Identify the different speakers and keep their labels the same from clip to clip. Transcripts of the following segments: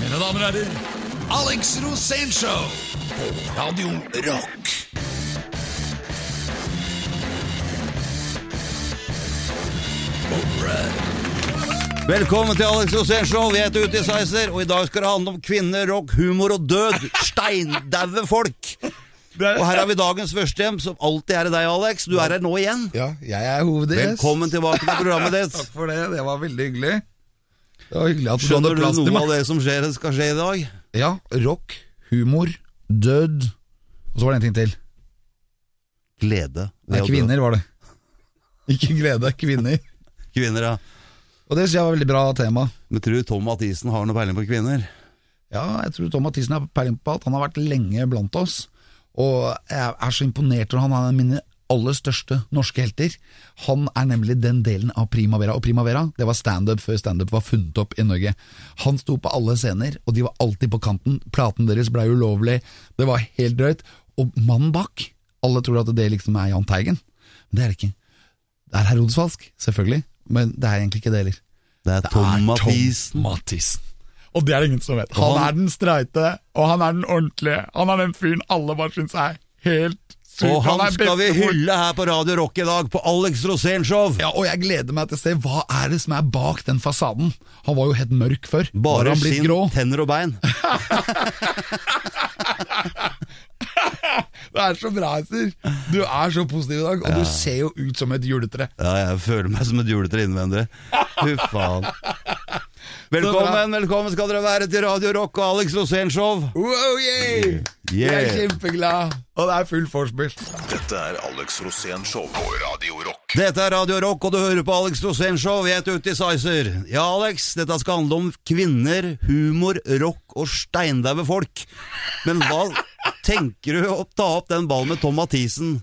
Speaker 1: Mine damer og herrer, Alex Rosénshow på Radio Rock.
Speaker 2: Velkommen til Alex Rosénshow. Vi heter Ute i Sizer, og i dag skal det handle om kvinner, rock, humor og død. Steindaue folk. Og her har vi dagens førstehjem, som alltid er i deg, Alex. Du er her nå igjen.
Speaker 3: Ja, jeg er hovedgjest.
Speaker 2: Velkommen tilbake til programmet ditt.
Speaker 3: Takk for det, det var veldig hyggelig. Det var hyggelig at du hadde
Speaker 2: Skjønner du
Speaker 3: plass til
Speaker 2: noe
Speaker 3: meg.
Speaker 2: av det som skjer, skal skje i dag?
Speaker 3: Ja, rock, humor, død, og så var det en ting til.
Speaker 2: Glede.
Speaker 3: Nei,
Speaker 2: ved å dø.
Speaker 3: kvinner var det. Ikke glede, kvinner.
Speaker 2: Kvinner, ja.
Speaker 3: Og det synes jeg var veldig bra tema.
Speaker 2: Men tror du Tom Mathisen har noe peiling på kvinner?
Speaker 3: Ja, jeg tror Tom Mathisen er peiling på alt. Han har vært lenge blant oss, og jeg er så imponert over han. Han er en av mine aller største norske helter. Han er nemlig den delen av Primavera, og Primavera det var standup før standup var funnet opp i Norge. Han sto på alle scener, og de var alltid på kanten. Platen deres blei ulovlig, det var helt drøyt. Og mannen bak, alle tror at det liksom er Jahn Teigen, men det er det ikke. Det er Herodes Falsk, selvfølgelig, men det er egentlig ikke det heller.
Speaker 2: Det er Tom Mathisen.
Speaker 3: Mathisen. Og det er det ingen som vet.
Speaker 2: Og
Speaker 3: Han
Speaker 2: han-
Speaker 3: er den streite, og han er den ordentlige. Han er den fyren alle bare syns er helt super.
Speaker 2: Og han
Speaker 3: er
Speaker 2: skal vi
Speaker 3: bestemor.
Speaker 2: hylle her på Radio Rock i dag, på Alex Rosénshow.
Speaker 3: Ja, og jeg gleder meg til å se hva er det som er bak den fasaden. Han var jo helt mørk før. Nå har
Speaker 2: Bare
Speaker 3: han blitt
Speaker 2: skinn,
Speaker 3: grå.
Speaker 2: tenner og bein.
Speaker 3: Det er så bra, Ester. Du er så positiv i dag, og du ser jo ut som et juletre.
Speaker 2: Ja, jeg føler meg som et juletre innvendig. Fy faen.
Speaker 3: bra.
Speaker 2: Velkommen, velkommen skal dere være til Radio Rock og Alex Rosénshow.
Speaker 3: Wow, yeah! Jeg er
Speaker 2: Yeah.
Speaker 3: kjempeglad, og det er full vorspiel.
Speaker 1: Dette er Alex Rosén Show på Radio Rock.
Speaker 2: Dette er Radio Rock, og du hører på Alex Rosénshow. Vi heter Uti Sizer. Ja, Alex, dette skal handle om kvinner, humor, rock og steindaue folk. Men hva tenker du å ta opp den ballen med Tom Mathisen?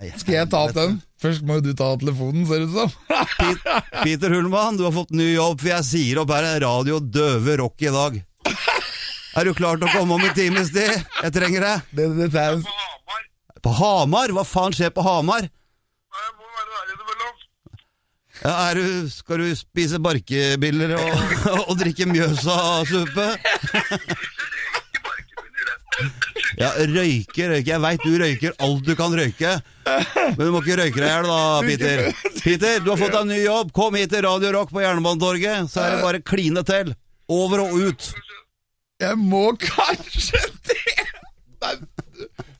Speaker 2: Nei,
Speaker 3: Skal jeg ta opp den? Først må jo du ta telefonen, ser det ut som.
Speaker 2: Peter Hullmann, du har fått ny jobb, for jeg sier opp her er radio døve rock i dag. Er du klar til å komme om en times tid? Jeg trenger deg.
Speaker 3: Det, det, det er jo
Speaker 4: Hamar.
Speaker 2: På Hamar? Hva faen skjer på Hamar?
Speaker 4: Jeg må være der innimellom.
Speaker 2: Ja, er du, skal du spise barkebiller og, og drikke Mjøsa-suppe?
Speaker 4: Ikke bare ikke finner det.
Speaker 2: Ja, røyke, røyke. Jeg veit du røyker alt du kan røyke. Men du må ikke røyke deg i hjel, da, Peter. Peter, du har fått deg ny jobb. Kom hit til Radio Rock på Jernbanetorget, så er det bare kline til. Over og ut.
Speaker 3: Jeg må kanskje det! Nei,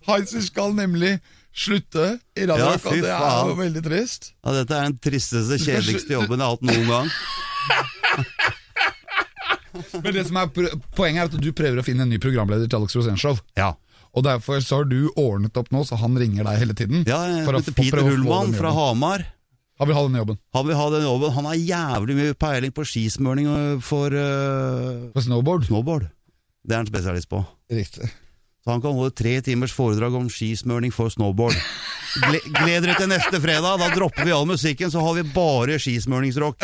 Speaker 3: Heiser skal nemlig slutte i Radio
Speaker 2: Ja,
Speaker 3: Rock,
Speaker 2: fy
Speaker 3: og det er
Speaker 2: faen.
Speaker 3: jo veldig trist.
Speaker 2: Ja, dette er den tristeste, kjedeligste jobben jeg har hatt noen gang.
Speaker 3: Men det som er pr- poenget er at du prøver å finne en ny programleder til Alex Rosénshow.
Speaker 2: Ja.
Speaker 3: Og derfor så har du ordnet opp nå, så han ringer deg hele tiden.
Speaker 2: ja jeg
Speaker 3: for å
Speaker 2: heter
Speaker 3: få-
Speaker 2: Peter
Speaker 3: prøve å få
Speaker 2: Hullmann
Speaker 3: den
Speaker 2: fra
Speaker 3: jobben.
Speaker 2: Hamar.
Speaker 3: Han vil ha den jobben.
Speaker 2: Han vil ha den jobben. Han har jævlig mye peiling på skismøring øh, for øh,
Speaker 3: På snowboard.
Speaker 2: snowboard. Det er han spesialist på.
Speaker 3: Riktig.
Speaker 2: Så han kan holde tre timers foredrag om skismøring for snowboard. Gle Gled dere til neste fredag, da dropper vi all musikken, så har vi bare skismøringsrock.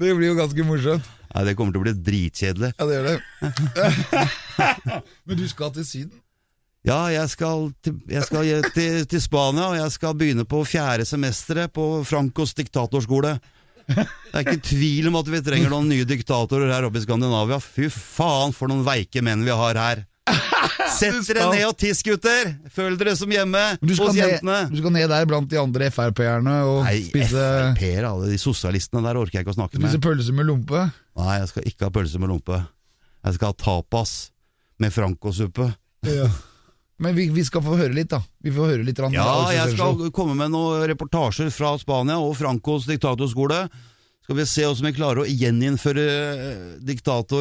Speaker 3: Det blir jo ganske morsomt.
Speaker 2: Nei, det kommer til å bli dritkjedelig.
Speaker 3: Ja, det gjør det. Men du skal til Syden?
Speaker 2: Ja, jeg skal, til, jeg skal je- til, til Spania, og jeg skal begynne på fjerde semesteret på Francos diktatorskole. Det er ikke tvil om at vi trenger noen nye diktatorer her oppe i Skandinavia. Fy faen for noen veike menn vi har her. Sett dere ned og tiss, gutter! Føl dere som hjemme
Speaker 3: Men du skal,
Speaker 2: hos
Speaker 3: ned,
Speaker 2: jentene.
Speaker 3: du skal ned der blant de andre Frp-erne og
Speaker 2: Nei,
Speaker 3: spise,
Speaker 2: Frp-er, alle de sosialistene der orker jeg ikke å snakke
Speaker 3: spise
Speaker 2: med.
Speaker 3: pølse med lompe.
Speaker 2: Nei, jeg skal ikke ha pølse med lompe. Jeg skal ha tapas med francosuppe.
Speaker 3: Men vi, vi skal få høre litt, da. Vi får høre litt grann
Speaker 2: Ja,
Speaker 3: av Alex
Speaker 2: jeg skal
Speaker 3: Rosénshow.
Speaker 2: komme med noen reportasjer fra Spania og Francos diktatorskole. Skal vi se hvordan vi klarer å gjeninnføre eh,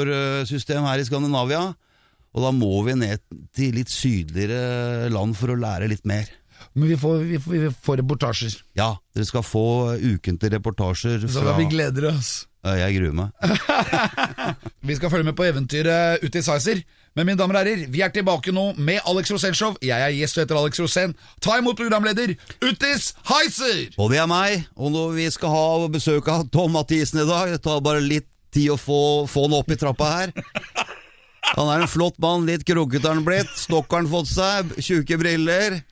Speaker 2: diktatorsystem her i Skandinavia. Og da må vi ned til litt sydligere land for å lære litt mer.
Speaker 3: Men vi får, vi, får, vi får reportasjer.
Speaker 2: Ja, dere skal få ukentlige reportasjer
Speaker 3: Så
Speaker 2: fra
Speaker 3: vi gleder oss.
Speaker 2: Ja, Jeg gruer meg.
Speaker 3: Vi skal følge med på eventyret ute i Sizer. Men mine damer og herrer, vi er tilbake nå med Alex Rosénshow. Jeg er gjest og heter Alex Rosén. Ta imot programleder Utis Heiser!
Speaker 2: Og det er meg. Og når vi skal ha besøk av Tom Mathisen i dag. Det tar bare litt tid å få, få han opp i trappa her. Han er en flott mann. Litt krokete har han blitt. Stokk har han fått seg. Tjuke briller.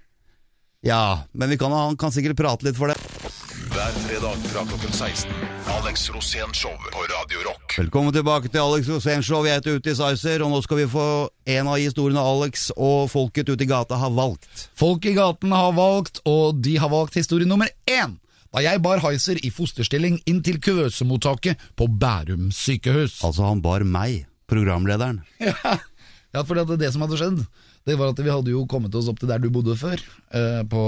Speaker 2: Ja, men vi kan, han kan sikkert prate litt for det.
Speaker 5: Hver fredag fra klokken 16. Alex Rosén Show på Radio Rock.
Speaker 2: Velkommen tilbake til Alex Rosén Show. Jeg heter Uti Sizer, og nå skal vi få en av historiene Alex og folket ute i gata har valgt.
Speaker 3: Folk i gaten har valgt, og de har valgt historie nummer én. Da jeg bar Heiser i fosterstilling inn til kuvøsemottaket på Bærum sykehus.
Speaker 2: Altså, han bar meg, programlederen.
Speaker 3: Ja, ja for det, det som hadde skjedd, det var at vi hadde jo kommet oss opp til der du bodde før, eh, på,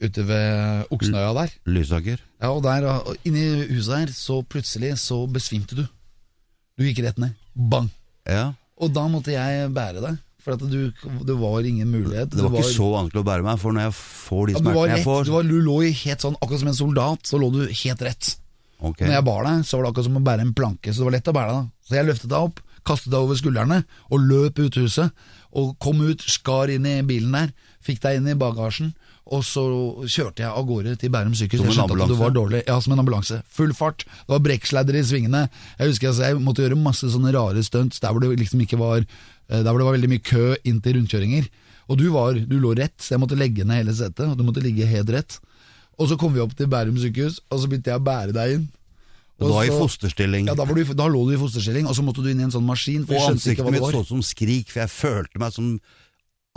Speaker 3: ute ved Oksnøya der.
Speaker 2: Lysaker.
Speaker 3: Ja, og der, og inni huset her, så plutselig så besvimte du. Du gikk rett ned. Bang.
Speaker 2: Ja.
Speaker 3: Og da måtte jeg bære deg, for at du, det var ingen mulighet.
Speaker 2: Det var
Speaker 3: Du
Speaker 2: ikke så vanskelig å bære meg, for når jeg får de
Speaker 3: Ja, du var
Speaker 2: smertene jeg
Speaker 3: rett,
Speaker 2: får
Speaker 3: du, var, du lå i helt sånn, akkurat som en soldat, så lå du helt rett.
Speaker 2: Ok.
Speaker 3: Når jeg bar deg, så var det akkurat som å bære en planke, så det var lett å bære deg. da. Så jeg løftet deg opp, kastet deg over skuldrene, og løp ut huset, og kom ut, skar inn i bilen der, fikk deg inn i bagasjen, og så kjørte jeg av gårde til Bærum sykehus.
Speaker 2: Som en
Speaker 3: Jeg skjønte at du
Speaker 2: ambulanse?
Speaker 3: var dårlig. Ja, som en ambulanse. Full fart. Det var brekksladder i svingene. Jeg husker altså, jeg måtte gjøre masse sånne rare stunts der hvor det liksom ikke var eh, Der hvor det var veldig mye kø inn til rundkjøringer. Og du var, du lå rett, så jeg måtte legge ned hele setet, og du måtte ligge helt rett. Og så kom vi opp til Bærum sykehus, og så begynte jeg å bære deg inn.
Speaker 2: Og da i
Speaker 3: så-
Speaker 2: fosterstilling.
Speaker 3: Ja, da, var du, i- da lå du i fosterstilling, og så måtte du inn i en sånn maskin. For
Speaker 2: og
Speaker 3: jeg skjønte ikke
Speaker 2: ansiktet
Speaker 3: hva det
Speaker 2: mitt så
Speaker 3: var.
Speaker 2: ut som Skrik, for jeg følte meg som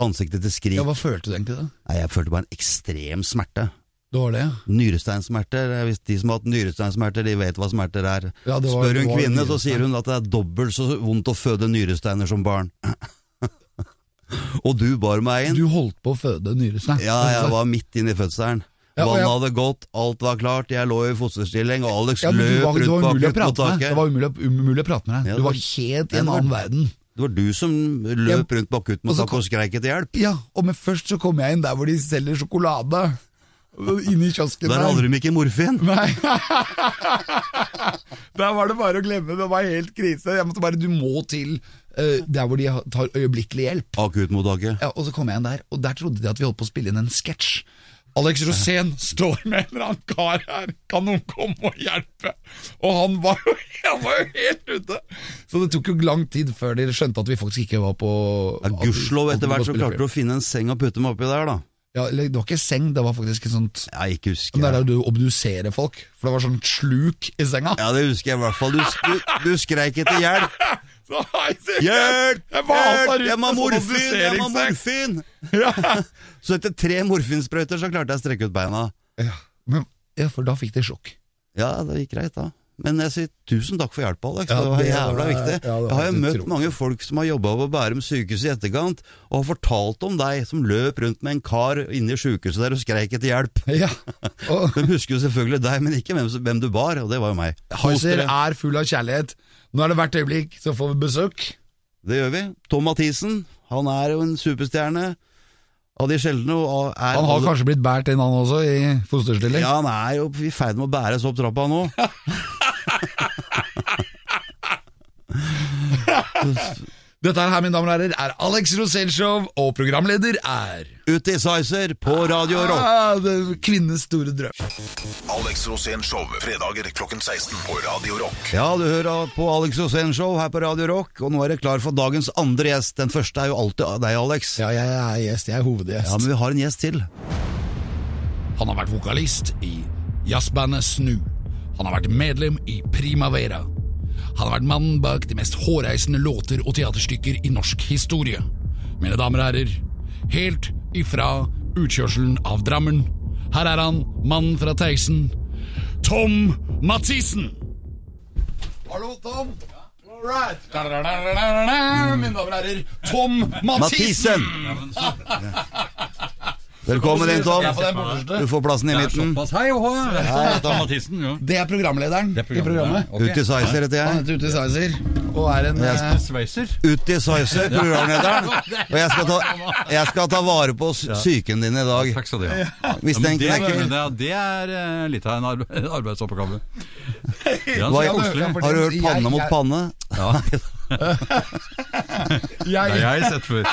Speaker 2: ansiktet til Skrik.
Speaker 3: Ja, Hva følte du egentlig da?
Speaker 2: Nei, jeg følte bare en ekstrem smerte.
Speaker 3: Det var det, ja.
Speaker 2: Nyresteinsmerter. eh, Hvis de som har hatt nyresteinsmerter, de vet hva smerter er.
Speaker 3: Ja, det var-
Speaker 2: Spør
Speaker 3: det
Speaker 2: hun
Speaker 3: var
Speaker 2: kvinne, så
Speaker 3: nyrestein.
Speaker 2: sier hun at det er dobbelt så vondt å føde nyresteiner som barn. og du bar meg inn.
Speaker 3: Du holdt på å føde nyrestein.
Speaker 2: Ja, jeg var midt inne i fødselen.
Speaker 3: Ja, og
Speaker 2: Vannet
Speaker 3: jeg-
Speaker 2: hadde gått, alt var klart, jeg lå i fosterstilling, og Alex
Speaker 3: Ja, men du
Speaker 2: løp
Speaker 3: var,
Speaker 2: rundt
Speaker 3: det var
Speaker 2: bak
Speaker 3: umulig å prate med deg. Det
Speaker 2: akuttmottaket.
Speaker 3: var umulig, umulig å prate med
Speaker 2: Ja,
Speaker 3: deg. Du var
Speaker 2: det-
Speaker 3: helt i
Speaker 2: det
Speaker 3: en
Speaker 2: var-
Speaker 3: annen verden.
Speaker 2: Det var du som løp rundt bak akuttmottaket og skreik etter hjelp.
Speaker 3: Ja, og men først så kom jeg inn der hvor de selger sjokolade. Inne i kiosken
Speaker 2: Der hadde de ikke morfin.
Speaker 3: Nei. der var det bare å glemme. Det var helt krise. Jeg måtte bare Du må til eh, der hvor de tar øyeblikkelig hjelp.
Speaker 2: Akuttmottaket.
Speaker 3: Ja, og så kom jeg inn der, og der trodde de at vi holdt på å spille inn en sketsj. Alex Rosén står med en eller annen kar her, kan noen komme og hjelpe? Og han var jo, han var jo helt ute! Så det tok jo lang tid før de skjønte at vi faktisk ikke var på
Speaker 2: Ja, Gudskjelov, etter hvert så klarte du å finne en seng å putte meg oppi der, da.
Speaker 3: ja, eller, Det var ikke seng, det var faktisk et sånt
Speaker 2: Jeg ikke husker.
Speaker 3: Men
Speaker 2: jeg.
Speaker 3: det er der du obduserer folk, for det var sånn sluk i senga.
Speaker 2: Ja, det husker jeg i hvert fall. Du, du, du skreik etter hjelp.
Speaker 3: Så hei, sier jeg.
Speaker 2: Hjelp!
Speaker 3: Jeg valsa
Speaker 2: Hjelp!
Speaker 3: rundt
Speaker 2: Jeg må ha
Speaker 3: med sånn
Speaker 2: morfin! Jeg må ha morfin!
Speaker 3: Ja.
Speaker 2: Så etter tre morfinsprøyter så klarte jeg å strekke ut beina.
Speaker 3: Ja, men, ja, for da fikk de sjokk.
Speaker 2: Ja, det gikk greit, da. Men jeg sier tusen takk for hjelpa, Alex.
Speaker 3: Ja,
Speaker 2: det var
Speaker 3: det
Speaker 2: jævla
Speaker 3: var-
Speaker 2: viktig.
Speaker 3: ja, det var
Speaker 2: jeg har jo
Speaker 3: helt
Speaker 2: møtt
Speaker 3: utrolig.
Speaker 2: mange folk som har jobba på Bærum sykehus i etterkant, og har fortalt om deg som løp rundt med en kar inne i sjukehuset der og skreik etter hjelp.
Speaker 3: Ja. Og
Speaker 2: De husker jo selvfølgelig deg, men ikke hvem, som- hvem du bar, og det var jo meg. Kos
Speaker 3: Heiser
Speaker 2: dere.
Speaker 3: er full av kjærlighet. Nå er det hvert øyeblikk, så får vi besøk.
Speaker 2: Det gjør vi. Tom Mathisen, han er jo en superstjerne av de sjeldne. Og er altså-
Speaker 3: Han har kanskje blitt bært inn, han også, i fosterstilling.
Speaker 2: Ja, han er jo i ferd med å bæres opp trappa nå.
Speaker 3: Dette her, mine damer og herrer, er Alex Rosenshov, og programleder er
Speaker 2: Uti Sizer på Radio Rock.
Speaker 3: ah, det- Kvinnenes store drøm.
Speaker 5: Alex Rosén Show fredager klokken 16 på Radio Rock.
Speaker 2: Ja, du hører på Alex Rosén Show her på Radio Rock, og nå er det klar for dagens andre gjest. Den første er jo alltid deg, Alex.
Speaker 3: Ja, jeg er gjest. Jeg er hovedgjest.
Speaker 2: Ja, men vi har en gjest til.
Speaker 3: Han har vært vokalist i jazzbandet Snu. Han har vært medlem i Primavera. Han har vært mannen bak de mest hårreisende låter og teaterstykker i norsk historie. Mine damer og herrer, helt ifra utkjørselen av Drammen, her er han, mannen fra Theisen, Tom Mathisen! Hallo, Tom. All right. Mine damer og herrer, Tom
Speaker 2: Mathisen! Velkommen inn, Tom.
Speaker 3: Jeg er på den borteste.
Speaker 2: Du får plassen i midten.
Speaker 6: Hei og hå! Det er Mathisen, jo.
Speaker 3: Det er programlederen
Speaker 6: Det er programmet.
Speaker 2: Uti Sizer heter jeg.
Speaker 3: Han heter Ute Sizer og er en
Speaker 2: Jeg
Speaker 3: eh,
Speaker 6: Sveiser.
Speaker 2: Uti Sizer, programlederen. Og jeg skal, ta, jeg skal ta vare på sy- psyken din i dag.
Speaker 6: Takk skal du ha.
Speaker 2: Mistenker
Speaker 6: Ja,
Speaker 2: jeg
Speaker 6: men det,
Speaker 2: ikke.
Speaker 6: ja, det er eh, litt av en arbe arbeidsoppgave. Ja,
Speaker 2: Hva-
Speaker 6: så koselig.
Speaker 2: Har du hørt panne mot panne?
Speaker 6: Ja, det har
Speaker 3: Jeg,
Speaker 6: jeg sett før.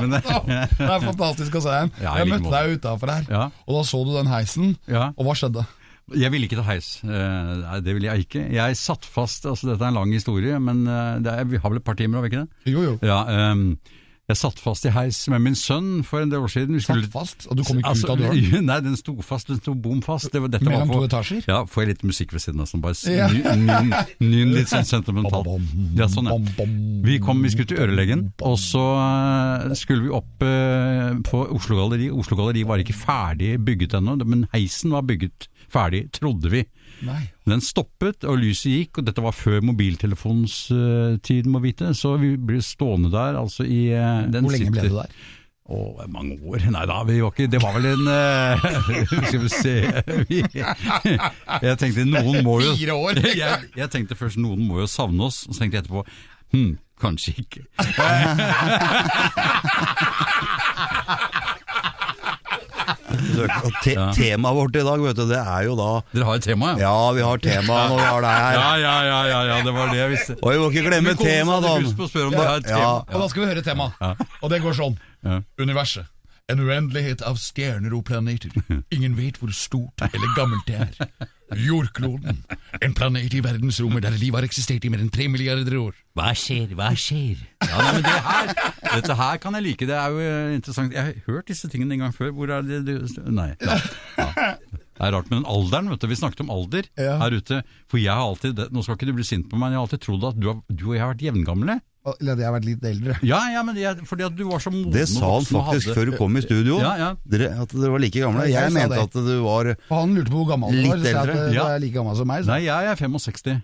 Speaker 6: Men, eh,
Speaker 3: det er fantastisk å se deg.
Speaker 6: Ja, i
Speaker 3: jeg
Speaker 6: like
Speaker 3: møtte
Speaker 6: måte.
Speaker 3: deg utafor her,
Speaker 6: Ja.
Speaker 3: og da så du den heisen.
Speaker 6: Ja.
Speaker 3: Og hva skjedde?
Speaker 6: jeg ville ikke ta heis. Eh, nei, Det ville jeg ikke. Jeg satt fast altså Dette er en lang historie, men eh, det er, vi har vel et par timer, har vi ikke det?
Speaker 3: Jo, jo.
Speaker 6: Ja, ehm, Jeg satt fast i heis med min sønn for en del år siden. Vi
Speaker 3: Satt
Speaker 6: skulle-
Speaker 3: fast, og du kom ikke
Speaker 6: Altså,
Speaker 3: ut av døren.
Speaker 6: Nei, den sto fast, den sto bom fast. Det var, dette
Speaker 3: Mellom
Speaker 6: var på-
Speaker 3: to etasjer?
Speaker 6: Ja, får jeg litt musikk ved siden av som bare s-
Speaker 3: Ja.
Speaker 6: nyn, nyn, nyn litt sånn sentimentalt.
Speaker 3: Bom, bom,
Speaker 6: Ja, sånn
Speaker 3: bom,
Speaker 6: ja.
Speaker 3: bom.
Speaker 6: Vi kom, vi skulle til Ørelegen, og så eh, skulle vi opp eh, på Oslo Galleri. Oslo Galleri var ikke ferdig bygget ennå, men heisen var bygget ferdig, trodde vi.
Speaker 3: Nei.
Speaker 6: Den stoppet, og lyset gikk, og dette var før mobiltelefonstiden, eh, må vite. Så vi ble stående der, altså i eh, den
Speaker 3: Hvor lenge ble
Speaker 6: sitter-
Speaker 3: du der?
Speaker 6: å, mange år? Nei da, vi var ikke Det var vel en eh, Skal vi se vi, Jeg tenkte noen må jo
Speaker 3: Fire år.
Speaker 6: jeg, jeg tenkte først noen må jo savne oss, og så tenkte jeg etterpå hm, kanskje ikke.
Speaker 2: Og te
Speaker 6: Ja.
Speaker 2: Temaet vårt i dag, vet du, det er jo da
Speaker 6: Dere har et tema, ja?
Speaker 2: Ja, vi har tema når vi har det her.
Speaker 6: Ja, ja, ja, ja, ja det var det jeg visste.
Speaker 2: Og vi må ikke glemme
Speaker 6: Velkommen,
Speaker 2: temaet,
Speaker 6: hadde lyst
Speaker 2: da.
Speaker 6: på å spørre om dere har et tema.
Speaker 2: Ja.
Speaker 6: Ja.
Speaker 7: Og da skal vi høre temaet. Og det går sånn.
Speaker 6: Ja.
Speaker 7: Universet. En uendelighet av stjerner og planeter. Ingen vet hvor stort eller gammelt det er. Jordkloden. En planet i verdensrommet der livet har eksistert i mer enn tre milliarder år.
Speaker 6: Hva skjer, hva skjer? Ja, nei, men det her, dette her kan jeg like, det er jo eh, interessant. Jeg har hørt disse tingene en gang før. Hvor er det, det Nei. Ja, ja. Det er rart med den alderen, vet du. Vi snakket om alder
Speaker 3: Ja.
Speaker 6: her ute. For jeg har alltid, det- nå skal ikke du bli sint på meg, men jeg har alltid trodd at du, har, du og jeg har vært jevngamle.
Speaker 3: Eller jeg har vært litt eldre.
Speaker 6: Ja, ja, men jeg, fordi at du var så moden
Speaker 2: Det sa han faktisk før du kom i studio.
Speaker 6: Ja, ja.
Speaker 2: Dere, at dere var like gamle.
Speaker 3: Ja, jeg
Speaker 2: Jeg
Speaker 3: sa
Speaker 2: mente
Speaker 3: det.
Speaker 2: at du var
Speaker 3: For han lurte på hvor gammel du
Speaker 2: Litt
Speaker 3: var. så sa jeg at,
Speaker 2: eldre,
Speaker 3: eh,
Speaker 6: ja.
Speaker 3: Du er like gammel som meg. Så.
Speaker 6: Nei, jeg er 65.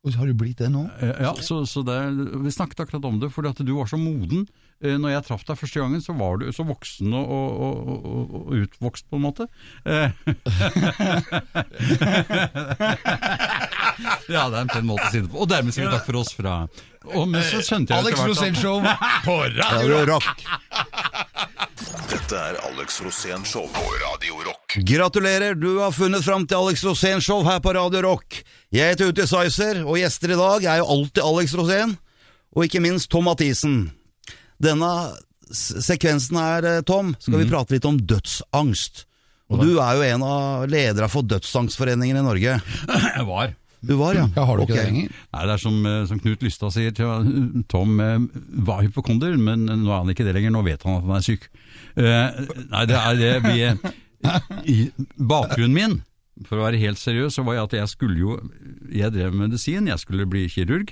Speaker 3: Og så Har du blitt det nå?
Speaker 6: Eh, Ja, så, så det, er- Vi snakket akkurat om det, fordi at du var så moden. Eh, Når jeg traff deg første gangen, så var du så voksen og, og, og, og, og utvokst, på en måte. Eh. ja, det er en pen måte å si det på. Og dermed sier vi takk for oss fra Og men så skjønte jeg
Speaker 7: Alex
Speaker 6: etter hvert at-
Speaker 7: Rosenshov på
Speaker 2: Ja,
Speaker 7: radio!
Speaker 2: du er rock.
Speaker 5: Dette er Alex Rosén Show på Radio Rock.
Speaker 2: Gratulerer, du har funnet fram til Alex Rosén Show her på Radio Rock. Jeg heter Uti Sizer, og gjester i dag er jo alltid Alex Rosén, og ikke minst Tom Mathisen. Denne s- sekvensen her, eh, Tom, skal
Speaker 3: Mhm.
Speaker 2: vi prate litt om dødsangst. Og du er jo en av lederne for Dødsangstforeningen i Norge.
Speaker 6: Jeg var.
Speaker 2: Du var, ja.
Speaker 3: Ja, har du
Speaker 2: Ok.
Speaker 3: ikke det lenger?
Speaker 6: Nei, det er som, eh, som Knut Lystad sier til eh, Tom eh, var hypokonder, men nå er han ikke det lenger, nå vet han at han er syk. Eh, nei, det er det vi i, Bakgrunnen min, for å være helt seriøs, så var jeg at jeg skulle jo Jeg drev med medisin, jeg skulle bli kirurg.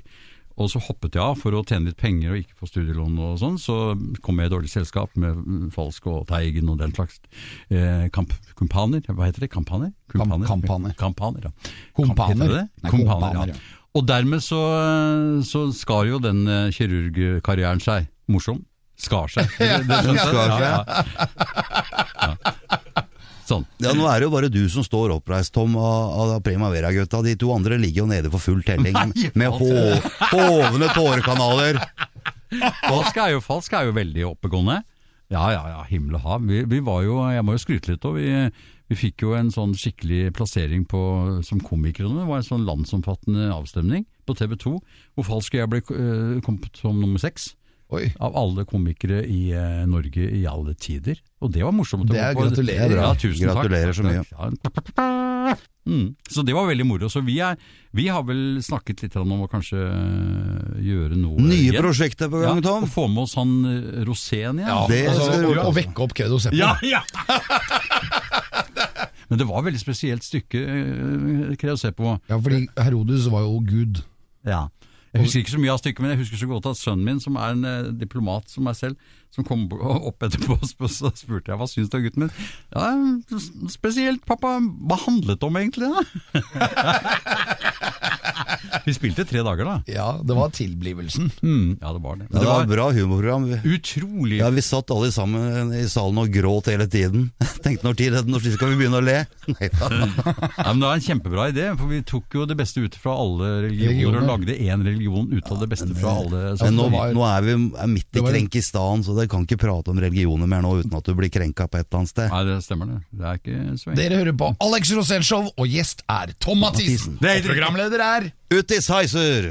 Speaker 6: Og så hoppet jeg av for å tjene litt penger og ikke få studielån og sånn. Så kom jeg i dårlig selskap med mm, Falsk og Teigen og den slags eh, kamp, kumpaner. Hva heter det? Kampaner? Kumpaner?
Speaker 3: kampaner.
Speaker 6: Kampaner, ja.
Speaker 3: Kompaner.
Speaker 6: Heter det det?
Speaker 3: Nei,
Speaker 6: Kompaner,
Speaker 3: kompaner, ja.
Speaker 6: ja. Og dermed så, så skar jo den eh, kirurgkarrieren seg. Morsom. Skar seg. Det, det skjønte jeg.
Speaker 2: Skar seg.
Speaker 6: Ja, ja. Ja. Sånn.
Speaker 2: Ja, Nå er det jo bare du som står oppreist, Tom, av, av Primavera-gutta. De to andre ligger jo nede for full telling
Speaker 6: Nei,
Speaker 2: med
Speaker 6: faen.
Speaker 2: hå- hovne tårekanaler.
Speaker 6: Falsk er jo, falsk er jo veldig oppegående. Ja, ja, ja, himmel og hav. Vi, vi var jo, jeg må jo skryte litt, og vi, vi fikk jo en sånn skikkelig plassering på, som komikere. nå. Det var en sånn landsomfattende avstemning på TV 2, hvor falsk og jeg ble, eh, kom som nummer seks.
Speaker 3: Oi.
Speaker 6: av alle komikere i eh, Norge i alle tider. Og det var morsomt. å
Speaker 3: Det er-
Speaker 6: gå på.
Speaker 3: gratulerer,
Speaker 6: Ja,
Speaker 3: da.
Speaker 6: tusen
Speaker 2: Gratulerer så mye.
Speaker 6: takk. Ja. Mm. Så det var veldig moro. Så vi, er, vi har vel snakket litt om å kanskje øh, gjøre noe
Speaker 2: Nye
Speaker 6: igjen.
Speaker 2: prosjekter på gang,
Speaker 6: Ja,
Speaker 2: Tom.
Speaker 6: og få med oss han øh, Rosén igjen.
Speaker 2: Det
Speaker 3: Altså,
Speaker 2: skal du
Speaker 3: å- å vekke opp Kedo Seppo.
Speaker 6: Ja, ja! Men det var et veldig spesielt stykke, øh, kan jeg se på.
Speaker 3: Ja, fordi Herodes var jo gud.
Speaker 6: Ja. Jeg husker ikke så mye av stykket, men jeg husker så godt at sønnen min, som er en eh, diplomat som meg selv, som kom bo- opp etterpå og sp- så spurte jeg hva syns du av gutten min. Ja, s- spesielt, pappa. Hva handlet det om egentlig, da? Vi spilte tre dager, da.
Speaker 3: Ja, det var tilblivelsen.
Speaker 6: Mm, ja, det var det.
Speaker 2: Det
Speaker 6: det
Speaker 2: var et
Speaker 6: var
Speaker 2: bra humorprogram. Vi-
Speaker 6: utrolig
Speaker 2: Ja, Vi satt alle sammen i salen og gråt hele tiden. Tenkte når tid, når tid skal vi begynne å le? Nei da.
Speaker 6: Ja, men Det var en kjempebra idé, for vi tok jo det beste ut fra alle religioner og
Speaker 3: Religioner.
Speaker 6: lagde én religion ut av det beste fra alle.
Speaker 2: Men nå,
Speaker 3: det var-
Speaker 2: nå er vi er midt i
Speaker 3: var-
Speaker 2: krenkistan, så dere kan ikke prate om religioner mer nå uten at du blir krenka på et eller annet sted.
Speaker 6: Nei, det stemmer, det. Det er ikke så enkelt.
Speaker 3: Dere hører på Alex Rosenshov, og gjest er Tom Mathisen.
Speaker 6: Det er
Speaker 3: Og programleder er
Speaker 2: Utis heiser!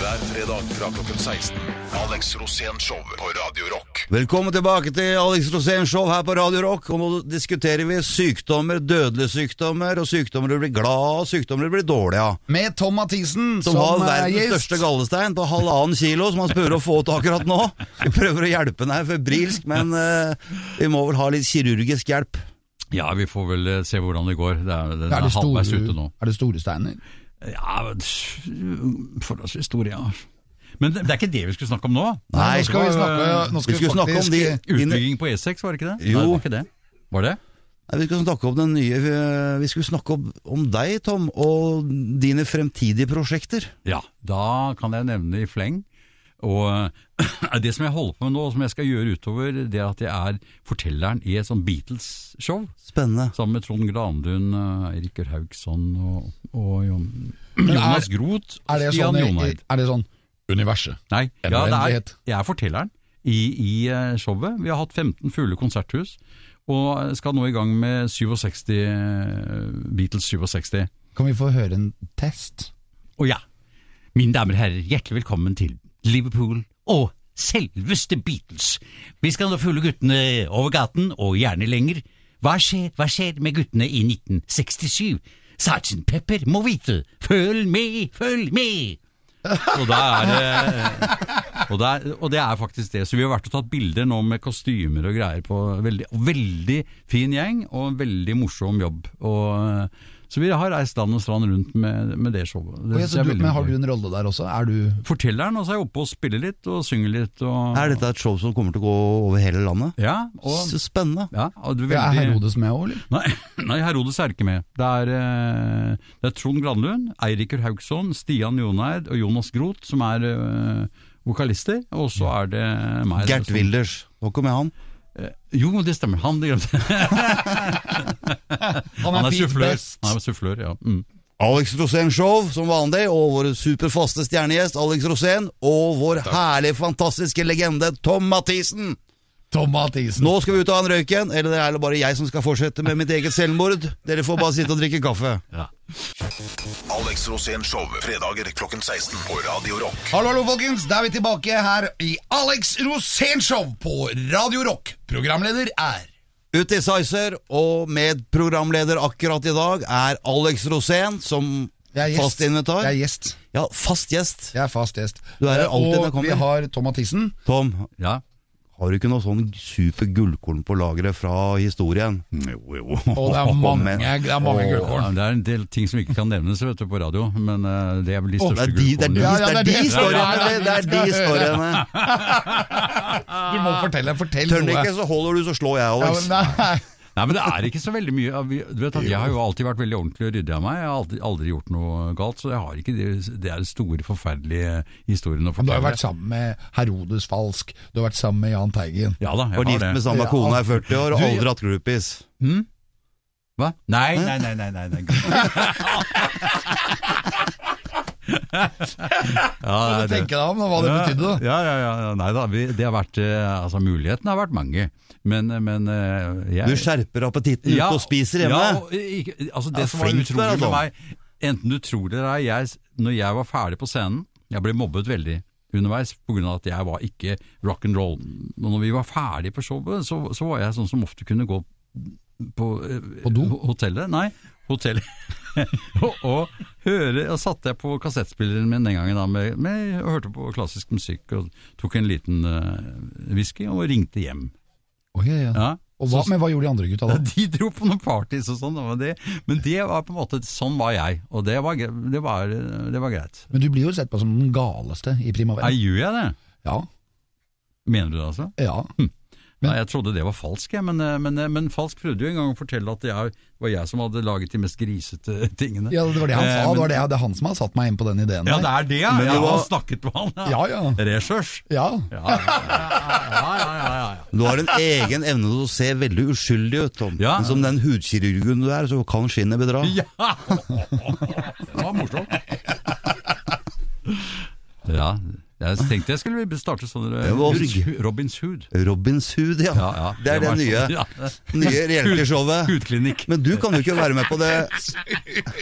Speaker 5: Hver fredag fra klokken 16. Alex Rosén-show på Radio Rock.
Speaker 2: Velkommen tilbake til Alex Rosén Show her på Radio Rock. Og nå diskuterer vi sykdommer, dødelige sykdommer, og sykdommer du blir glad av, og sykdommer du blir dårlig av.
Speaker 3: Med Tom Mathisen
Speaker 2: Som, har
Speaker 3: eh,
Speaker 2: verdens
Speaker 3: gjest.
Speaker 2: største gallestein på halvannen kilo, som han prøver å få ut akkurat nå. Vi prøver å hjelpe han her febrilsk, men eh, vi må vel ha litt kirurgisk hjelp.
Speaker 6: Ja, vi får vel eh, se hvordan det går. Det er, den
Speaker 3: Er
Speaker 6: er,
Speaker 3: det,
Speaker 6: halvveis ute
Speaker 3: store,
Speaker 6: nå.
Speaker 3: er det store steiner?
Speaker 6: Ja, men, forholdsvis stor, ja. Men det, det er ikke det vi skulle snakke om nå.
Speaker 2: Nei,
Speaker 3: nå skal vi snakke, nå skal
Speaker 2: vi skulle snakke om de
Speaker 3: faktisk-
Speaker 2: inne-
Speaker 6: Utbygging på E6, var det ikke det?
Speaker 2: Jo.
Speaker 6: Nei, det var ikke det. Var det?
Speaker 2: Nei, Vi skulle snakke om den nye eh, Vi skulle snakke om, om deg, Tom, og dine fremtidige prosjekter.
Speaker 6: Ja, da kan jeg nevne i fleng. Og eh, det som jeg holder på med nå, og som jeg skal gjøre utover, det er at jeg er fortelleren i et sånn Beatles-show.
Speaker 2: Spennende.
Speaker 6: Sammen med Trond Granlund, eh, Eirik Haugsson og, og Jon- Jonas Groth. og
Speaker 3: Er det
Speaker 6: Stian
Speaker 3: sånn, i-
Speaker 6: Joneid.
Speaker 3: er det sånn universet?
Speaker 6: Nei,
Speaker 3: En
Speaker 6: ja, det er,
Speaker 3: uendelighet.
Speaker 6: jeg er fortelleren i, i eh, showet. Vi har hatt 15 fulle konserthus, og skal nå i gang med 67, eh, Beatles 67.
Speaker 3: Kan vi få høre en test?
Speaker 6: Og ja, mine damer og herrer, hjertelig velkommen til Liverpool og selveste Beatles. Vi skal nå følge guttene over gaten, og gjerne lenger. Hva skjer, hva skjer med guttene i 1967? Sergeant Pepper må vite, følg med, følg med! Og, da er det, og, det er, og det er faktisk det. Så vi har vært og tatt bilder nå med kostymer og greier på veldig, veldig fin gjeng, og en veldig morsom jobb. Og, så vi har reist land og strand rundt med, med det showet. Det
Speaker 3: Og jeg,
Speaker 6: synes
Speaker 3: så
Speaker 6: jeg er
Speaker 3: du,
Speaker 6: veldig
Speaker 3: men har
Speaker 6: gøy.
Speaker 3: du en rolle der også? Er du
Speaker 6: Fortelleren, og så er jeg oppe og spiller litt og synger litt. Og,
Speaker 2: Er dette et show som kommer til å gå over hele landet?
Speaker 6: Ja, og,
Speaker 2: Så spennende.
Speaker 6: ja, og det er
Speaker 3: Er
Speaker 6: veldig-
Speaker 3: Herodes med òg, eller?
Speaker 6: Nei, nei, Herodes er ikke med. Det er, eh, det er Trond Granlund, Eiriker Haugsson, Stian Joneid og Jonas Groth som er eh, vokalister. Og så er det meg.
Speaker 2: Gert
Speaker 6: som-
Speaker 2: Wilders. Hva kom med han?
Speaker 6: Jo, det stemmer. Han, det glemte jeg. Han er
Speaker 3: fint
Speaker 6: sufflør.
Speaker 3: best.
Speaker 6: Han er sufflør, ja. Mm.
Speaker 2: Alex Rosén Show, som vanlig, og vår superfaste stjernegjest Alex Rosén, og vår herlige, fantastiske legende Tom Mathisen.
Speaker 3: Tom Mathisen.
Speaker 2: Nå skal vi ut av den røyken, eller det er bare jeg som skal fortsette med mitt eget selvmord. Dere får bare sitte og drikke kaffe.
Speaker 5: Alex Rosén-show fredager klokken 16 på Radio Rock.
Speaker 3: Hallo, hallo, folkens. Da er vi tilbake her i Alex Rosén-show på Radio Rock. Programleder er
Speaker 2: Ut i Sizer, og medprogramleder akkurat i dag er Alex Rosén, som
Speaker 3: Jeg er gjest.
Speaker 2: fast invitar.
Speaker 3: Jeg er gjest.
Speaker 2: Ja, fast gjest.
Speaker 3: Jeg er fast gjest.
Speaker 2: Du er her alltid når jeg
Speaker 3: Og
Speaker 2: kommer.
Speaker 3: vi har Tom Mathisen.
Speaker 2: Tom,
Speaker 6: ja.
Speaker 2: har du ikke noe sånn super gullkorn på lageret fra historien?
Speaker 6: Jo, jo.
Speaker 3: Og det er mange,
Speaker 2: men-
Speaker 3: det er mange gullkorn.
Speaker 6: Ja, det er en del ting som ikke kan nevnes vet du, på radio, men eh, det er vel de
Speaker 2: Det
Speaker 6: største
Speaker 2: er de, det er de,
Speaker 3: Ja,
Speaker 6: gullkornene.
Speaker 3: ja,
Speaker 2: det er de
Speaker 3: det er det.
Speaker 2: historiene!
Speaker 3: Ja, ja,
Speaker 2: Det er de
Speaker 3: vi skal høre.
Speaker 2: historiene.
Speaker 3: Du må fortelle, fortell
Speaker 2: Tør du
Speaker 3: noe.
Speaker 2: ikke, så holder du, så slår jeg,
Speaker 3: Ja,
Speaker 2: Alex.
Speaker 3: men nei.
Speaker 6: Nei, men det er ikke så veldig mye. Vi- Du vet at Jeg har jo alltid vært veldig ordentlig og ryddig av meg. Jeg har aldri, aldri gjort noe galt, så jeg har ikke de, det er store, forferdelige historien å
Speaker 3: Men Du
Speaker 6: fortelle.
Speaker 3: har jo vært sammen med Herodes Falsk, du har vært sammen med Jahn Teigen.
Speaker 6: Ja da, jeg
Speaker 2: Var gift
Speaker 6: har
Speaker 2: med
Speaker 6: det.
Speaker 2: samme
Speaker 3: Ja.
Speaker 2: kone i 40 år og
Speaker 6: Du-
Speaker 2: aldri hatt groupies.
Speaker 6: Hva? Nei, nei, nei, nei, nei, nei. ja,
Speaker 3: Kan du
Speaker 6: det er
Speaker 3: tenke
Speaker 6: det.
Speaker 3: deg om hva det betydde? da?
Speaker 6: Ja, ja, ja, ja. Nei da, vi, det har vært, eh, altså mulighetene har vært mange, men, men eh, jeg...
Speaker 2: Du skjerper appetitten ute og spiser
Speaker 6: Ja,
Speaker 2: hjemme.
Speaker 6: og ikke, altså
Speaker 2: Ja,
Speaker 6: det som var
Speaker 2: flink du er,
Speaker 6: utrolig
Speaker 2: Tom.
Speaker 6: med meg, enten du tror det eller ei, jeg- når jeg var ferdig på scenen Jeg ble mobbet veldig underveis pga. at jeg var ikke rock and roll. Og når vi var ferdig på showet, så, så var jeg sånn som ofte kunne gå på, eh,
Speaker 3: På do?
Speaker 6: ho- hotellet. Nei, hotellet. og, og høre Og satte jeg på kassettspilleren min den gangen da, med, med, og hørte på klassisk musikk og tok en liten eh, whisky og ringte hjem.
Speaker 3: Oi, ja, ja.
Speaker 6: Ja.
Speaker 3: Og hva, men hva gjorde de andre gutta
Speaker 6: Ja,
Speaker 3: da?
Speaker 6: de dro på noen parties og sånn, men det, men det var på en måte Sånn var jeg, og det var, gre- det var, det var greit.
Speaker 3: Men du blir jo sett på som den galeste i Primavera.
Speaker 6: Nei, gjør jeg det?
Speaker 3: Ja,
Speaker 6: Mener du det, altså?
Speaker 3: ja.
Speaker 6: Nei, jeg trodde det var falsk, jeg, men, eh, men, men falsk prøvde jo en gang å fortelle at det er- var jeg som hadde laget de mest grisete tingene.
Speaker 3: ja det var det han
Speaker 6: Eh,
Speaker 3: sa. Det,
Speaker 6: men-
Speaker 3: var det, det er han som har satt meg inn på den ideen.
Speaker 6: Ja,
Speaker 3: der.
Speaker 6: det er det, ja!
Speaker 2: Men det
Speaker 6: Jeg
Speaker 2: var-
Speaker 6: har snakket med han.
Speaker 3: Ja, ja.
Speaker 6: Ressurs.
Speaker 3: ja.
Speaker 6: Ja, ja, ja, ja, ja, ja, ja.
Speaker 2: Du har en egen evne til å se veldig uskyldig ut, Tom.
Speaker 6: Ja.
Speaker 2: Men som den hudkirurgen du er, så kan skinnet bedra.
Speaker 6: Ja! Det var morsomt. Ja, jeg tenkte jeg skulle starte sånn eh,
Speaker 2: Det var-
Speaker 6: Robins Hood.
Speaker 2: Robins hud, ja.
Speaker 6: Ja, ja.
Speaker 2: Det er det
Speaker 6: var
Speaker 2: nye,
Speaker 6: sånn, ja.
Speaker 2: nye reality-showet.
Speaker 6: Hudklinikk.
Speaker 2: Men du kan jo ikke være med på det.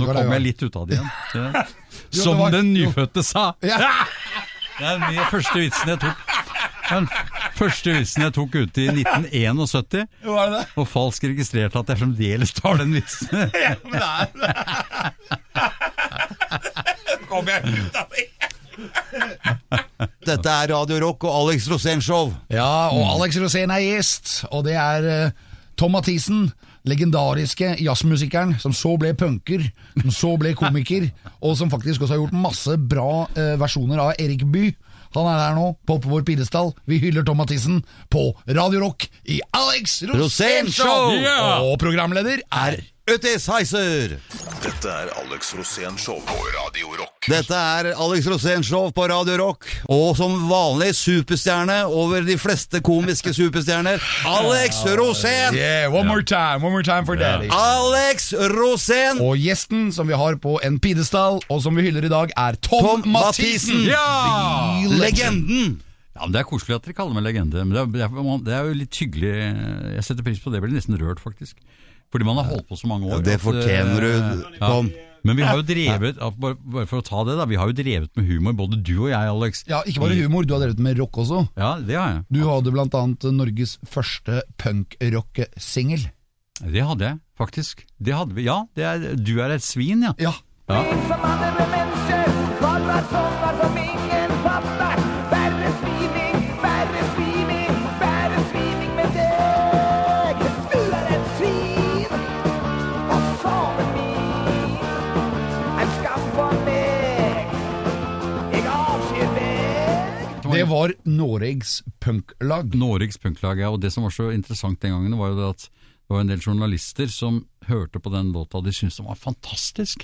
Speaker 6: Nå kom jeg litt ut av det igjen.
Speaker 3: det
Speaker 6: som
Speaker 3: var-
Speaker 6: den nyfødte sa.
Speaker 3: Ja.
Speaker 6: Det er den første vitsen jeg tok. Den første vitsen jeg tok ute i 1971,
Speaker 3: Var det det?
Speaker 6: og falsk registrerte at jeg fremdeles tar den vitsen.
Speaker 3: Men det er
Speaker 7: Kom igjen, gutta!
Speaker 2: Dette er Radio Rock og Alex Rosénshow.
Speaker 3: Ja, og Alex Rosén er gjest, og det er eh, Tom Mathisen, legendariske jazzmusikeren som så ble punker, som så ble komiker, og som faktisk også har gjort masse bra eh, versjoner av Erik Bye. Han er her nå, på vår pidestall. Vi hyller Tom Mathisen på Radio Rock i Alex Rosén Show!
Speaker 6: Ja!
Speaker 3: Og programleder er
Speaker 2: Utis Heiser!
Speaker 5: Dette er Alex Rosén Show på Radio Rock.
Speaker 2: Dette er Alex Rosénshow på Radio Rock. Og som vanlig superstjerne over de fleste komiske superstjerner, Alex Rosén!
Speaker 3: Yeah, one more time, one more time for daddy.
Speaker 2: Alex Rosén!
Speaker 3: Og gjesten som vi har på en pidestall, og som vi hyller i dag, er Tom,
Speaker 2: Tom Mathisen.
Speaker 3: Mathisen!
Speaker 6: Ja!
Speaker 3: The
Speaker 2: Legenden!
Speaker 6: Ja, men Det er koselig at dere kaller meg legende, men det er, det er- det er jo litt hyggelig. Jeg setter pris på det. Jeg blir nesten rørt, faktisk. Fordi man har holdt på så mange år.
Speaker 2: Ja, det
Speaker 6: at,
Speaker 2: fortjener du,
Speaker 6: eh,
Speaker 2: Tom.
Speaker 6: Men vi har jo drevet ja, bare, bare for å ta det da, vi har jo drevet med humor, både du og jeg, Alex.
Speaker 3: Ja, ikke bare humor, du har drevet med rock også.
Speaker 6: Ja, det har jeg.
Speaker 3: Du hadde blant annet Norges første punkrock-singel.
Speaker 6: Det hadde jeg, faktisk. Det hadde vi. Ja, det er, du er et svin, ja.
Speaker 3: Ja.
Speaker 8: Som andre mennesker Folk var sånn, var som ingen pappa Verre sviming, verre sviming Verre sviming med deg Du er et svin Og samen min En skam for meg Jeg avskjer deg
Speaker 3: Det var Noregs punklag.
Speaker 6: Noregs punklag, ja. Og det som var så interessant den gangen, var jo det at det var en del journalister som hørte på den låta de syntes den var fantastisk.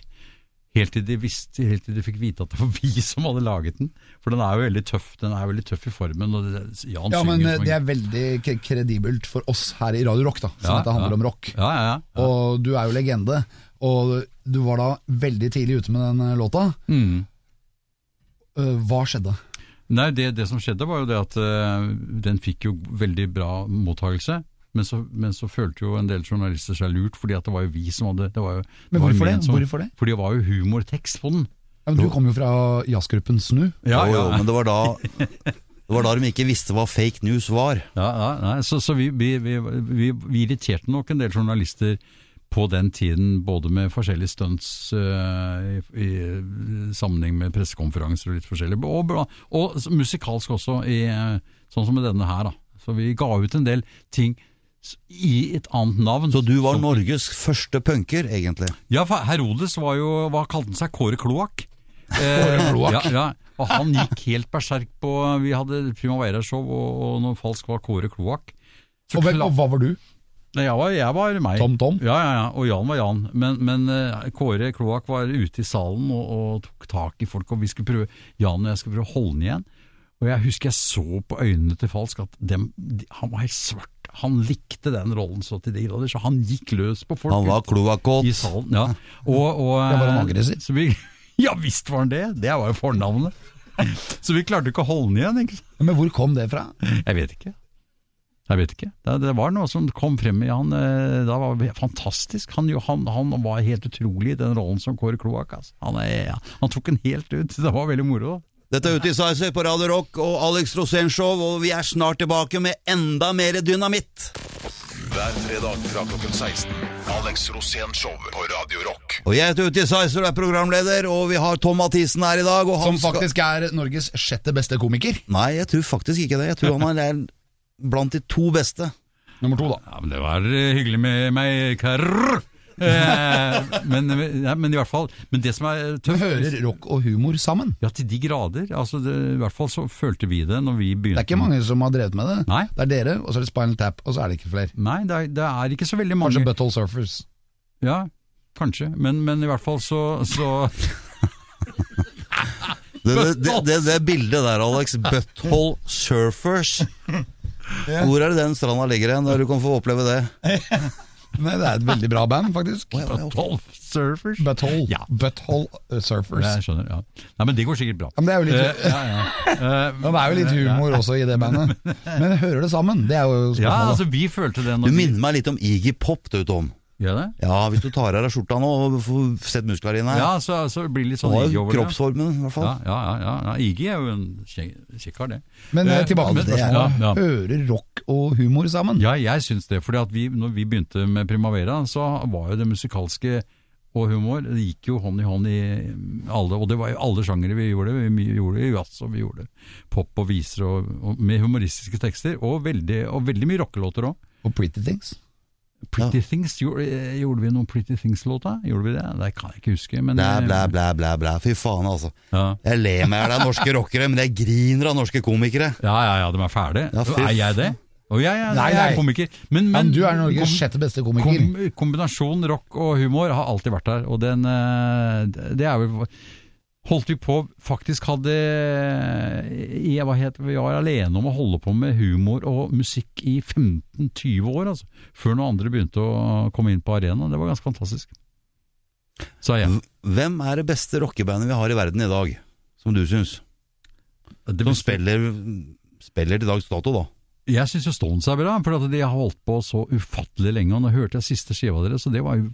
Speaker 6: Helt til de visste, helt til de fikk vite at det var vi som hadde laget den. For den er jo veldig tøff Den er jo veldig tøff i formen. Og det, Jan
Speaker 3: Ja,
Speaker 6: synger
Speaker 3: men
Speaker 6: jo
Speaker 3: eh,
Speaker 6: som en-
Speaker 3: det er veldig k- kredibelt for oss her i Radio Rock, da, siden
Speaker 6: Ja,
Speaker 3: dette handler
Speaker 6: ja.
Speaker 3: om rock.
Speaker 6: Ja, ja, ja.
Speaker 3: Og du er jo legende, og du var da veldig tidlig ute med den eh, låta. Eh, Hva skjedde?
Speaker 6: Nei, det, det som skjedde var jo det at eh, den fikk jo veldig bra mottagelse. Men så, men så følte jo en del journalister seg lurt, fordi at det var jo vi som hadde det var jo,
Speaker 3: Men
Speaker 6: det var jo
Speaker 3: hvorfor det?
Speaker 6: ment Som,
Speaker 3: Hvorfor det?
Speaker 6: Fordi det var jo humortekst på den.
Speaker 3: Ja, men du kom jo fra jazzgruppen Snu.
Speaker 6: Ja,
Speaker 2: jo,
Speaker 6: ja.
Speaker 2: jo, men det var da Det var da de ikke visste hva fake news var.
Speaker 6: Ja, ja, nei, så, så vi, vi, vi, vi, vi irriterte nok en del journalister på den tiden, både med forskjellige stunts eh, i, i sammenheng med pressekonferanser og litt forskjellig, og, bra- og s- musikalsk også, i, eh, sånn som med denne her. da. Så vi ga ut en del ting s- i et annet navn.
Speaker 2: Så du var
Speaker 6: Som-
Speaker 2: Norges første punker, egentlig.
Speaker 6: Ja, for Herodes var jo, hva kalte han seg, Kåre Kloakk? Kåre
Speaker 3: Kloak.
Speaker 6: Ja, ja. Og han gikk helt berserk på, vi hadde Primavera-show, og, og noe falsk var Kåre Kloakk. Så
Speaker 3: Og, hvem,
Speaker 6: kla-
Speaker 3: og hva var du?
Speaker 6: Nei, jeg var, jeg var meg.
Speaker 3: Tom Tom?
Speaker 6: Ja, ja, ja, og Jan var Jan. Men, men eh, Kåre Kloakk var ute i salen og, og tok tak i folk, og vi skulle prøve, Jan og jeg skulle prøve å holde den igjen. Og jeg husker jeg så på øynene til Falsk at dem, de, han var helt svart. Han likte den rollen så til de grader, så han gikk løs på folk.
Speaker 2: Han var kloakkåt.
Speaker 6: I salen, ja. Og, og,
Speaker 3: Ja, var han aggressiv?
Speaker 6: så vi- Ja visst var han det, det var jo fornavnet. Så vi klarte ikke å holde den igjen, egentlig.
Speaker 3: Men hvor kom det fra?
Speaker 6: Jeg vet ikke. Jeg vet ikke. Det, det var noe som kom frem i han eh, da var vi- fantastisk. Han, jo- han, han var helt utrolig i den rollen som Kåre Kloakk. Altså. Han, er- han tok den helt ut. Det var veldig moro.
Speaker 2: Dette er Utis Heiser på Radio Rock og Alex Rosénshow, og vi er snart tilbake med enda mer dynamitt.
Speaker 5: Hver fredag fra klokken 16. Alex Rosén Show på Radio Rock.
Speaker 2: Og jeg heter Utis Heiser og er programleder, og vi har Tom Mathisen her i dag. Og han
Speaker 3: Som faktisk er Norges sjette beste komiker.
Speaker 2: Skal... Nei, jeg tror faktisk ikke det. Jeg tror han er blant de to beste.
Speaker 3: Nummer to, da.
Speaker 6: Ja, men det var eh, hyggelig med meg, karer. Eh, men, ja, men i hvert fall Men det som er
Speaker 3: Men
Speaker 6: tøft
Speaker 3: hører rock og humor sammen?
Speaker 6: Ja, til de grader. Altså, det, I hvert fall så følte vi det når vi
Speaker 3: Det
Speaker 6: begynte.
Speaker 3: er ikke mange som har drevet med det.
Speaker 6: Nei.
Speaker 3: Det er dere, og så er det Spinal Tap, og så er det ikke flere.
Speaker 6: Nei, det er, det er ikke så veldig mange.
Speaker 3: Kanskje Butthole Surfers.
Speaker 6: Ja, kanskje. Men, men i hvert fall så, så
Speaker 2: Det, det, det, det, det bildet der, Alex. Butthole Surfers. Hvor er det den stranda ligger hen, der du kan få oppleve det?
Speaker 3: Nei, det er et veldig bra band, faktisk.
Speaker 6: Tolv surfers.
Speaker 3: Butthole,
Speaker 6: Ja.
Speaker 3: Butthole uh, Surfers.
Speaker 6: Jeg skjønner, ja. Nei, men det går sikkert bra.
Speaker 3: Ja, men det er jo litt,
Speaker 6: Eh, ja, ja. Eh,
Speaker 3: ja, det er jo litt humor også i det bandet. Men hører det sammen? Det er jo
Speaker 6: ja,
Speaker 3: spørsmålet.
Speaker 6: altså vi følte det
Speaker 2: Du
Speaker 6: når vi
Speaker 2: minner meg litt om Iggy Pop, du, Tom.
Speaker 6: Gjør det?
Speaker 2: Ja, hvis du tar av deg skjorta nå og får sett musklene dine.
Speaker 6: Ja, så, så blir det litt
Speaker 2: Du
Speaker 6: sånn
Speaker 2: har
Speaker 6: IG
Speaker 2: jo
Speaker 6: over det.
Speaker 2: kroppsformen, i hvert fall.
Speaker 6: Ja, ja, ja, ja, ja. IG er jo en kjekk kjekk kar, det.
Speaker 3: Men eh,
Speaker 6: Eh,
Speaker 3: tilbake
Speaker 6: men
Speaker 3: til det.
Speaker 6: spørsmålet- ja, ja.
Speaker 3: Hører rock og humor sammen?
Speaker 6: Ja, jeg syns det. fordi at vi, når vi begynte med Primavera, så var jo det musikalske og humor det gikk jo hånd i hånd i alle og det var jo alle sjangere vi gjorde. Vi gjorde jazz og vi gjorde pop og viser og, og med humoristiske tekster. Og veldig, og veldig mye rockelåter òg.
Speaker 3: Og Pretty Things?
Speaker 6: Pretty Things, gjorde, eh, gjorde vi noen Pretty Things-låta? Gjorde vi det? Det kan jeg ikke huske. Men,
Speaker 2: Blæ,
Speaker 6: eh,
Speaker 2: blæ, blæ, blæ, blæ. Fy faen, altså.
Speaker 6: Ja.
Speaker 2: Jeg ler meg i hjel av norske rockere, men jeg griner av norske komikere.
Speaker 6: ja, ja, ja, de er ferdige.
Speaker 2: Ja, fy
Speaker 6: er jeg det? Og jeg, jeg,
Speaker 3: Nei,
Speaker 6: jeg
Speaker 3: nei.
Speaker 6: er komiker. Men,
Speaker 3: Men
Speaker 6: men
Speaker 3: du er Norges
Speaker 6: kom-
Speaker 3: sjette beste komiker.
Speaker 6: Kom, kombinasjon rock og humor har alltid vært der, og den eh, Det er vel Holdt vi på Faktisk hadde eh, jeg, hva het, Vi var alene om å holde på med humor og musikk i 15-20 år, altså. Før noen andre begynte å komme inn på arenaen. Det var ganske fantastisk. Sa jeg.
Speaker 2: Hvem er det beste rockebandet vi har i verden i dag, som du syns? Som spiller, spiller til dags dato, da.
Speaker 6: Jeg syns jo Stones er bra, for at de har holdt på så ufattelig lenge. Og nå hørte jeg siste skiva deres, og det var jo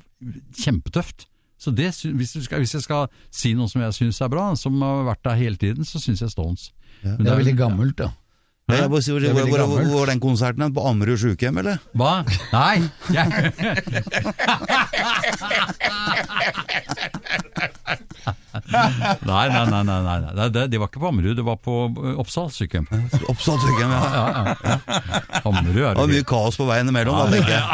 Speaker 6: kjempetøft. Så det, sy- hvis, du skal, hvis jeg skal si noe som jeg syns er bra, som har vært der hele tiden, så syns jeg Stones. Men
Speaker 3: Det er veldig
Speaker 6: jo-
Speaker 3: gammelt, da.
Speaker 2: Ja, jeg bare sier,
Speaker 6: Det er
Speaker 2: hvor,
Speaker 6: veldig
Speaker 2: hvor, hvor,
Speaker 6: gammelt.
Speaker 2: hvor var den konserten hen? På Ammerud sjukehjem, eller?
Speaker 6: Hva? Nei! Jeg, nei, nei, nei, nei, nei, nei. Det, det var ikke på Ammerud, det var på eh, Oppsal sykehjem.
Speaker 2: Oppsal sjukehjem, ja.
Speaker 6: Ammerud er
Speaker 2: Det var
Speaker 6: det
Speaker 2: mye kaos på veien imellom, da, tenker jeg.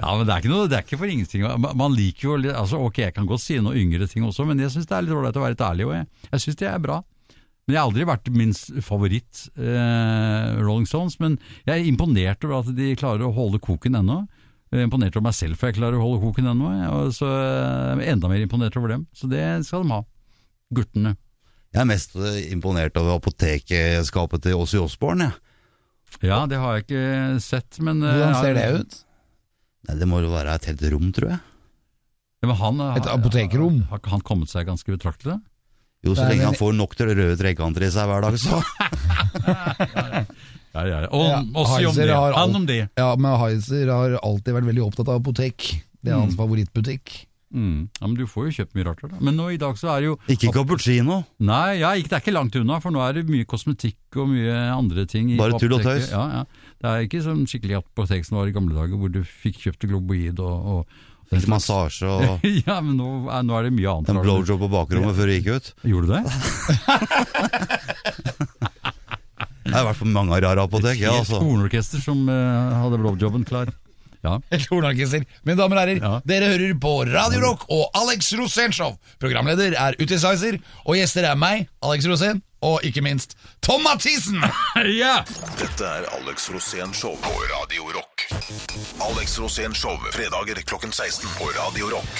Speaker 6: Ja, men det er ikke, noe, det er ikke for ingenting. Man- Man liker jo litt- altså, Ok, jeg kan godt si noe yngre ting også, men jeg syns det er litt ålreit å være litt ærlig. Og jeg, jeg syns det er bra. Men Jeg har aldri vært min s- favoritt eh, Rolling Stones, men jeg er imponert over at de klarer å holde koken ennå. Jeg er Imponert over meg selv for jeg klarer å holde koken ennå. jeg, Og så eh, enda mer imponert over dem. Så det skal de ha. Guttene.
Speaker 2: Jeg er mest eh, imponert over apotekskapet til Åssi Osborn, jeg.
Speaker 6: Ja, det har jeg ikke sett, men eh,
Speaker 3: Hvordan ser det
Speaker 6: ja,
Speaker 3: ut?
Speaker 2: Nei, det må jo være et helt rom, tror jeg.
Speaker 6: men han,
Speaker 3: Et apotekerrom?
Speaker 6: Har ikke han kommet seg ganske betraktelig?
Speaker 2: Jo, så
Speaker 3: Nei,
Speaker 2: lenge
Speaker 3: men-
Speaker 2: han får nok til røde trekanter i seg hver dag, så.
Speaker 6: Ja, ja, ja. Og,
Speaker 3: Ja,
Speaker 6: og si om
Speaker 3: Heiser
Speaker 6: det.
Speaker 3: har alt-
Speaker 6: Han om det.
Speaker 3: Ja, men Heiser har alltid vært veldig opptatt av apotek. Det er hans favorittbutikk.
Speaker 6: Mm. Ja, men Du får jo kjøpt mye rart. her, Da. Men nå i dag så er det jo
Speaker 2: Ikke cappuccino.
Speaker 6: Nei, ja, ikke, det er ikke langt unna, for nå er det mye kosmetikk og mye andre ting. i
Speaker 2: Bare tull og
Speaker 6: apoteket.
Speaker 2: tøys.
Speaker 6: Ja, ja. Det er ikke sånn skikkelig apotek som det var i gamle dager, hvor du fikk kjøpt globoid og, og
Speaker 2: Litt massasje og
Speaker 6: Ja, men nå er, nå er det mye annet.
Speaker 2: en
Speaker 6: rart.
Speaker 2: blowjob på bakrommet før det gikk ut.
Speaker 6: Gjorde du det?
Speaker 2: Jeg har vært på mange rare apotek, ja,
Speaker 6: Helt
Speaker 2: altså.
Speaker 6: Hornorkester som eh, hadde blowjobben klar. Ja.
Speaker 7: Hornorkester. Mine damer og herrer,
Speaker 6: Ja.
Speaker 7: dere hører på Radio Rock og Alex Rosénshow. Programleder er Utisizer, og gjester er meg, Alex Rosén, og ikke minst Tom Mathisen!
Speaker 6: ja!
Speaker 5: Dette er Alex Rosén Show på Radio Rock. Alex Rosén Show, fredager klokken 16 på Radio Rock.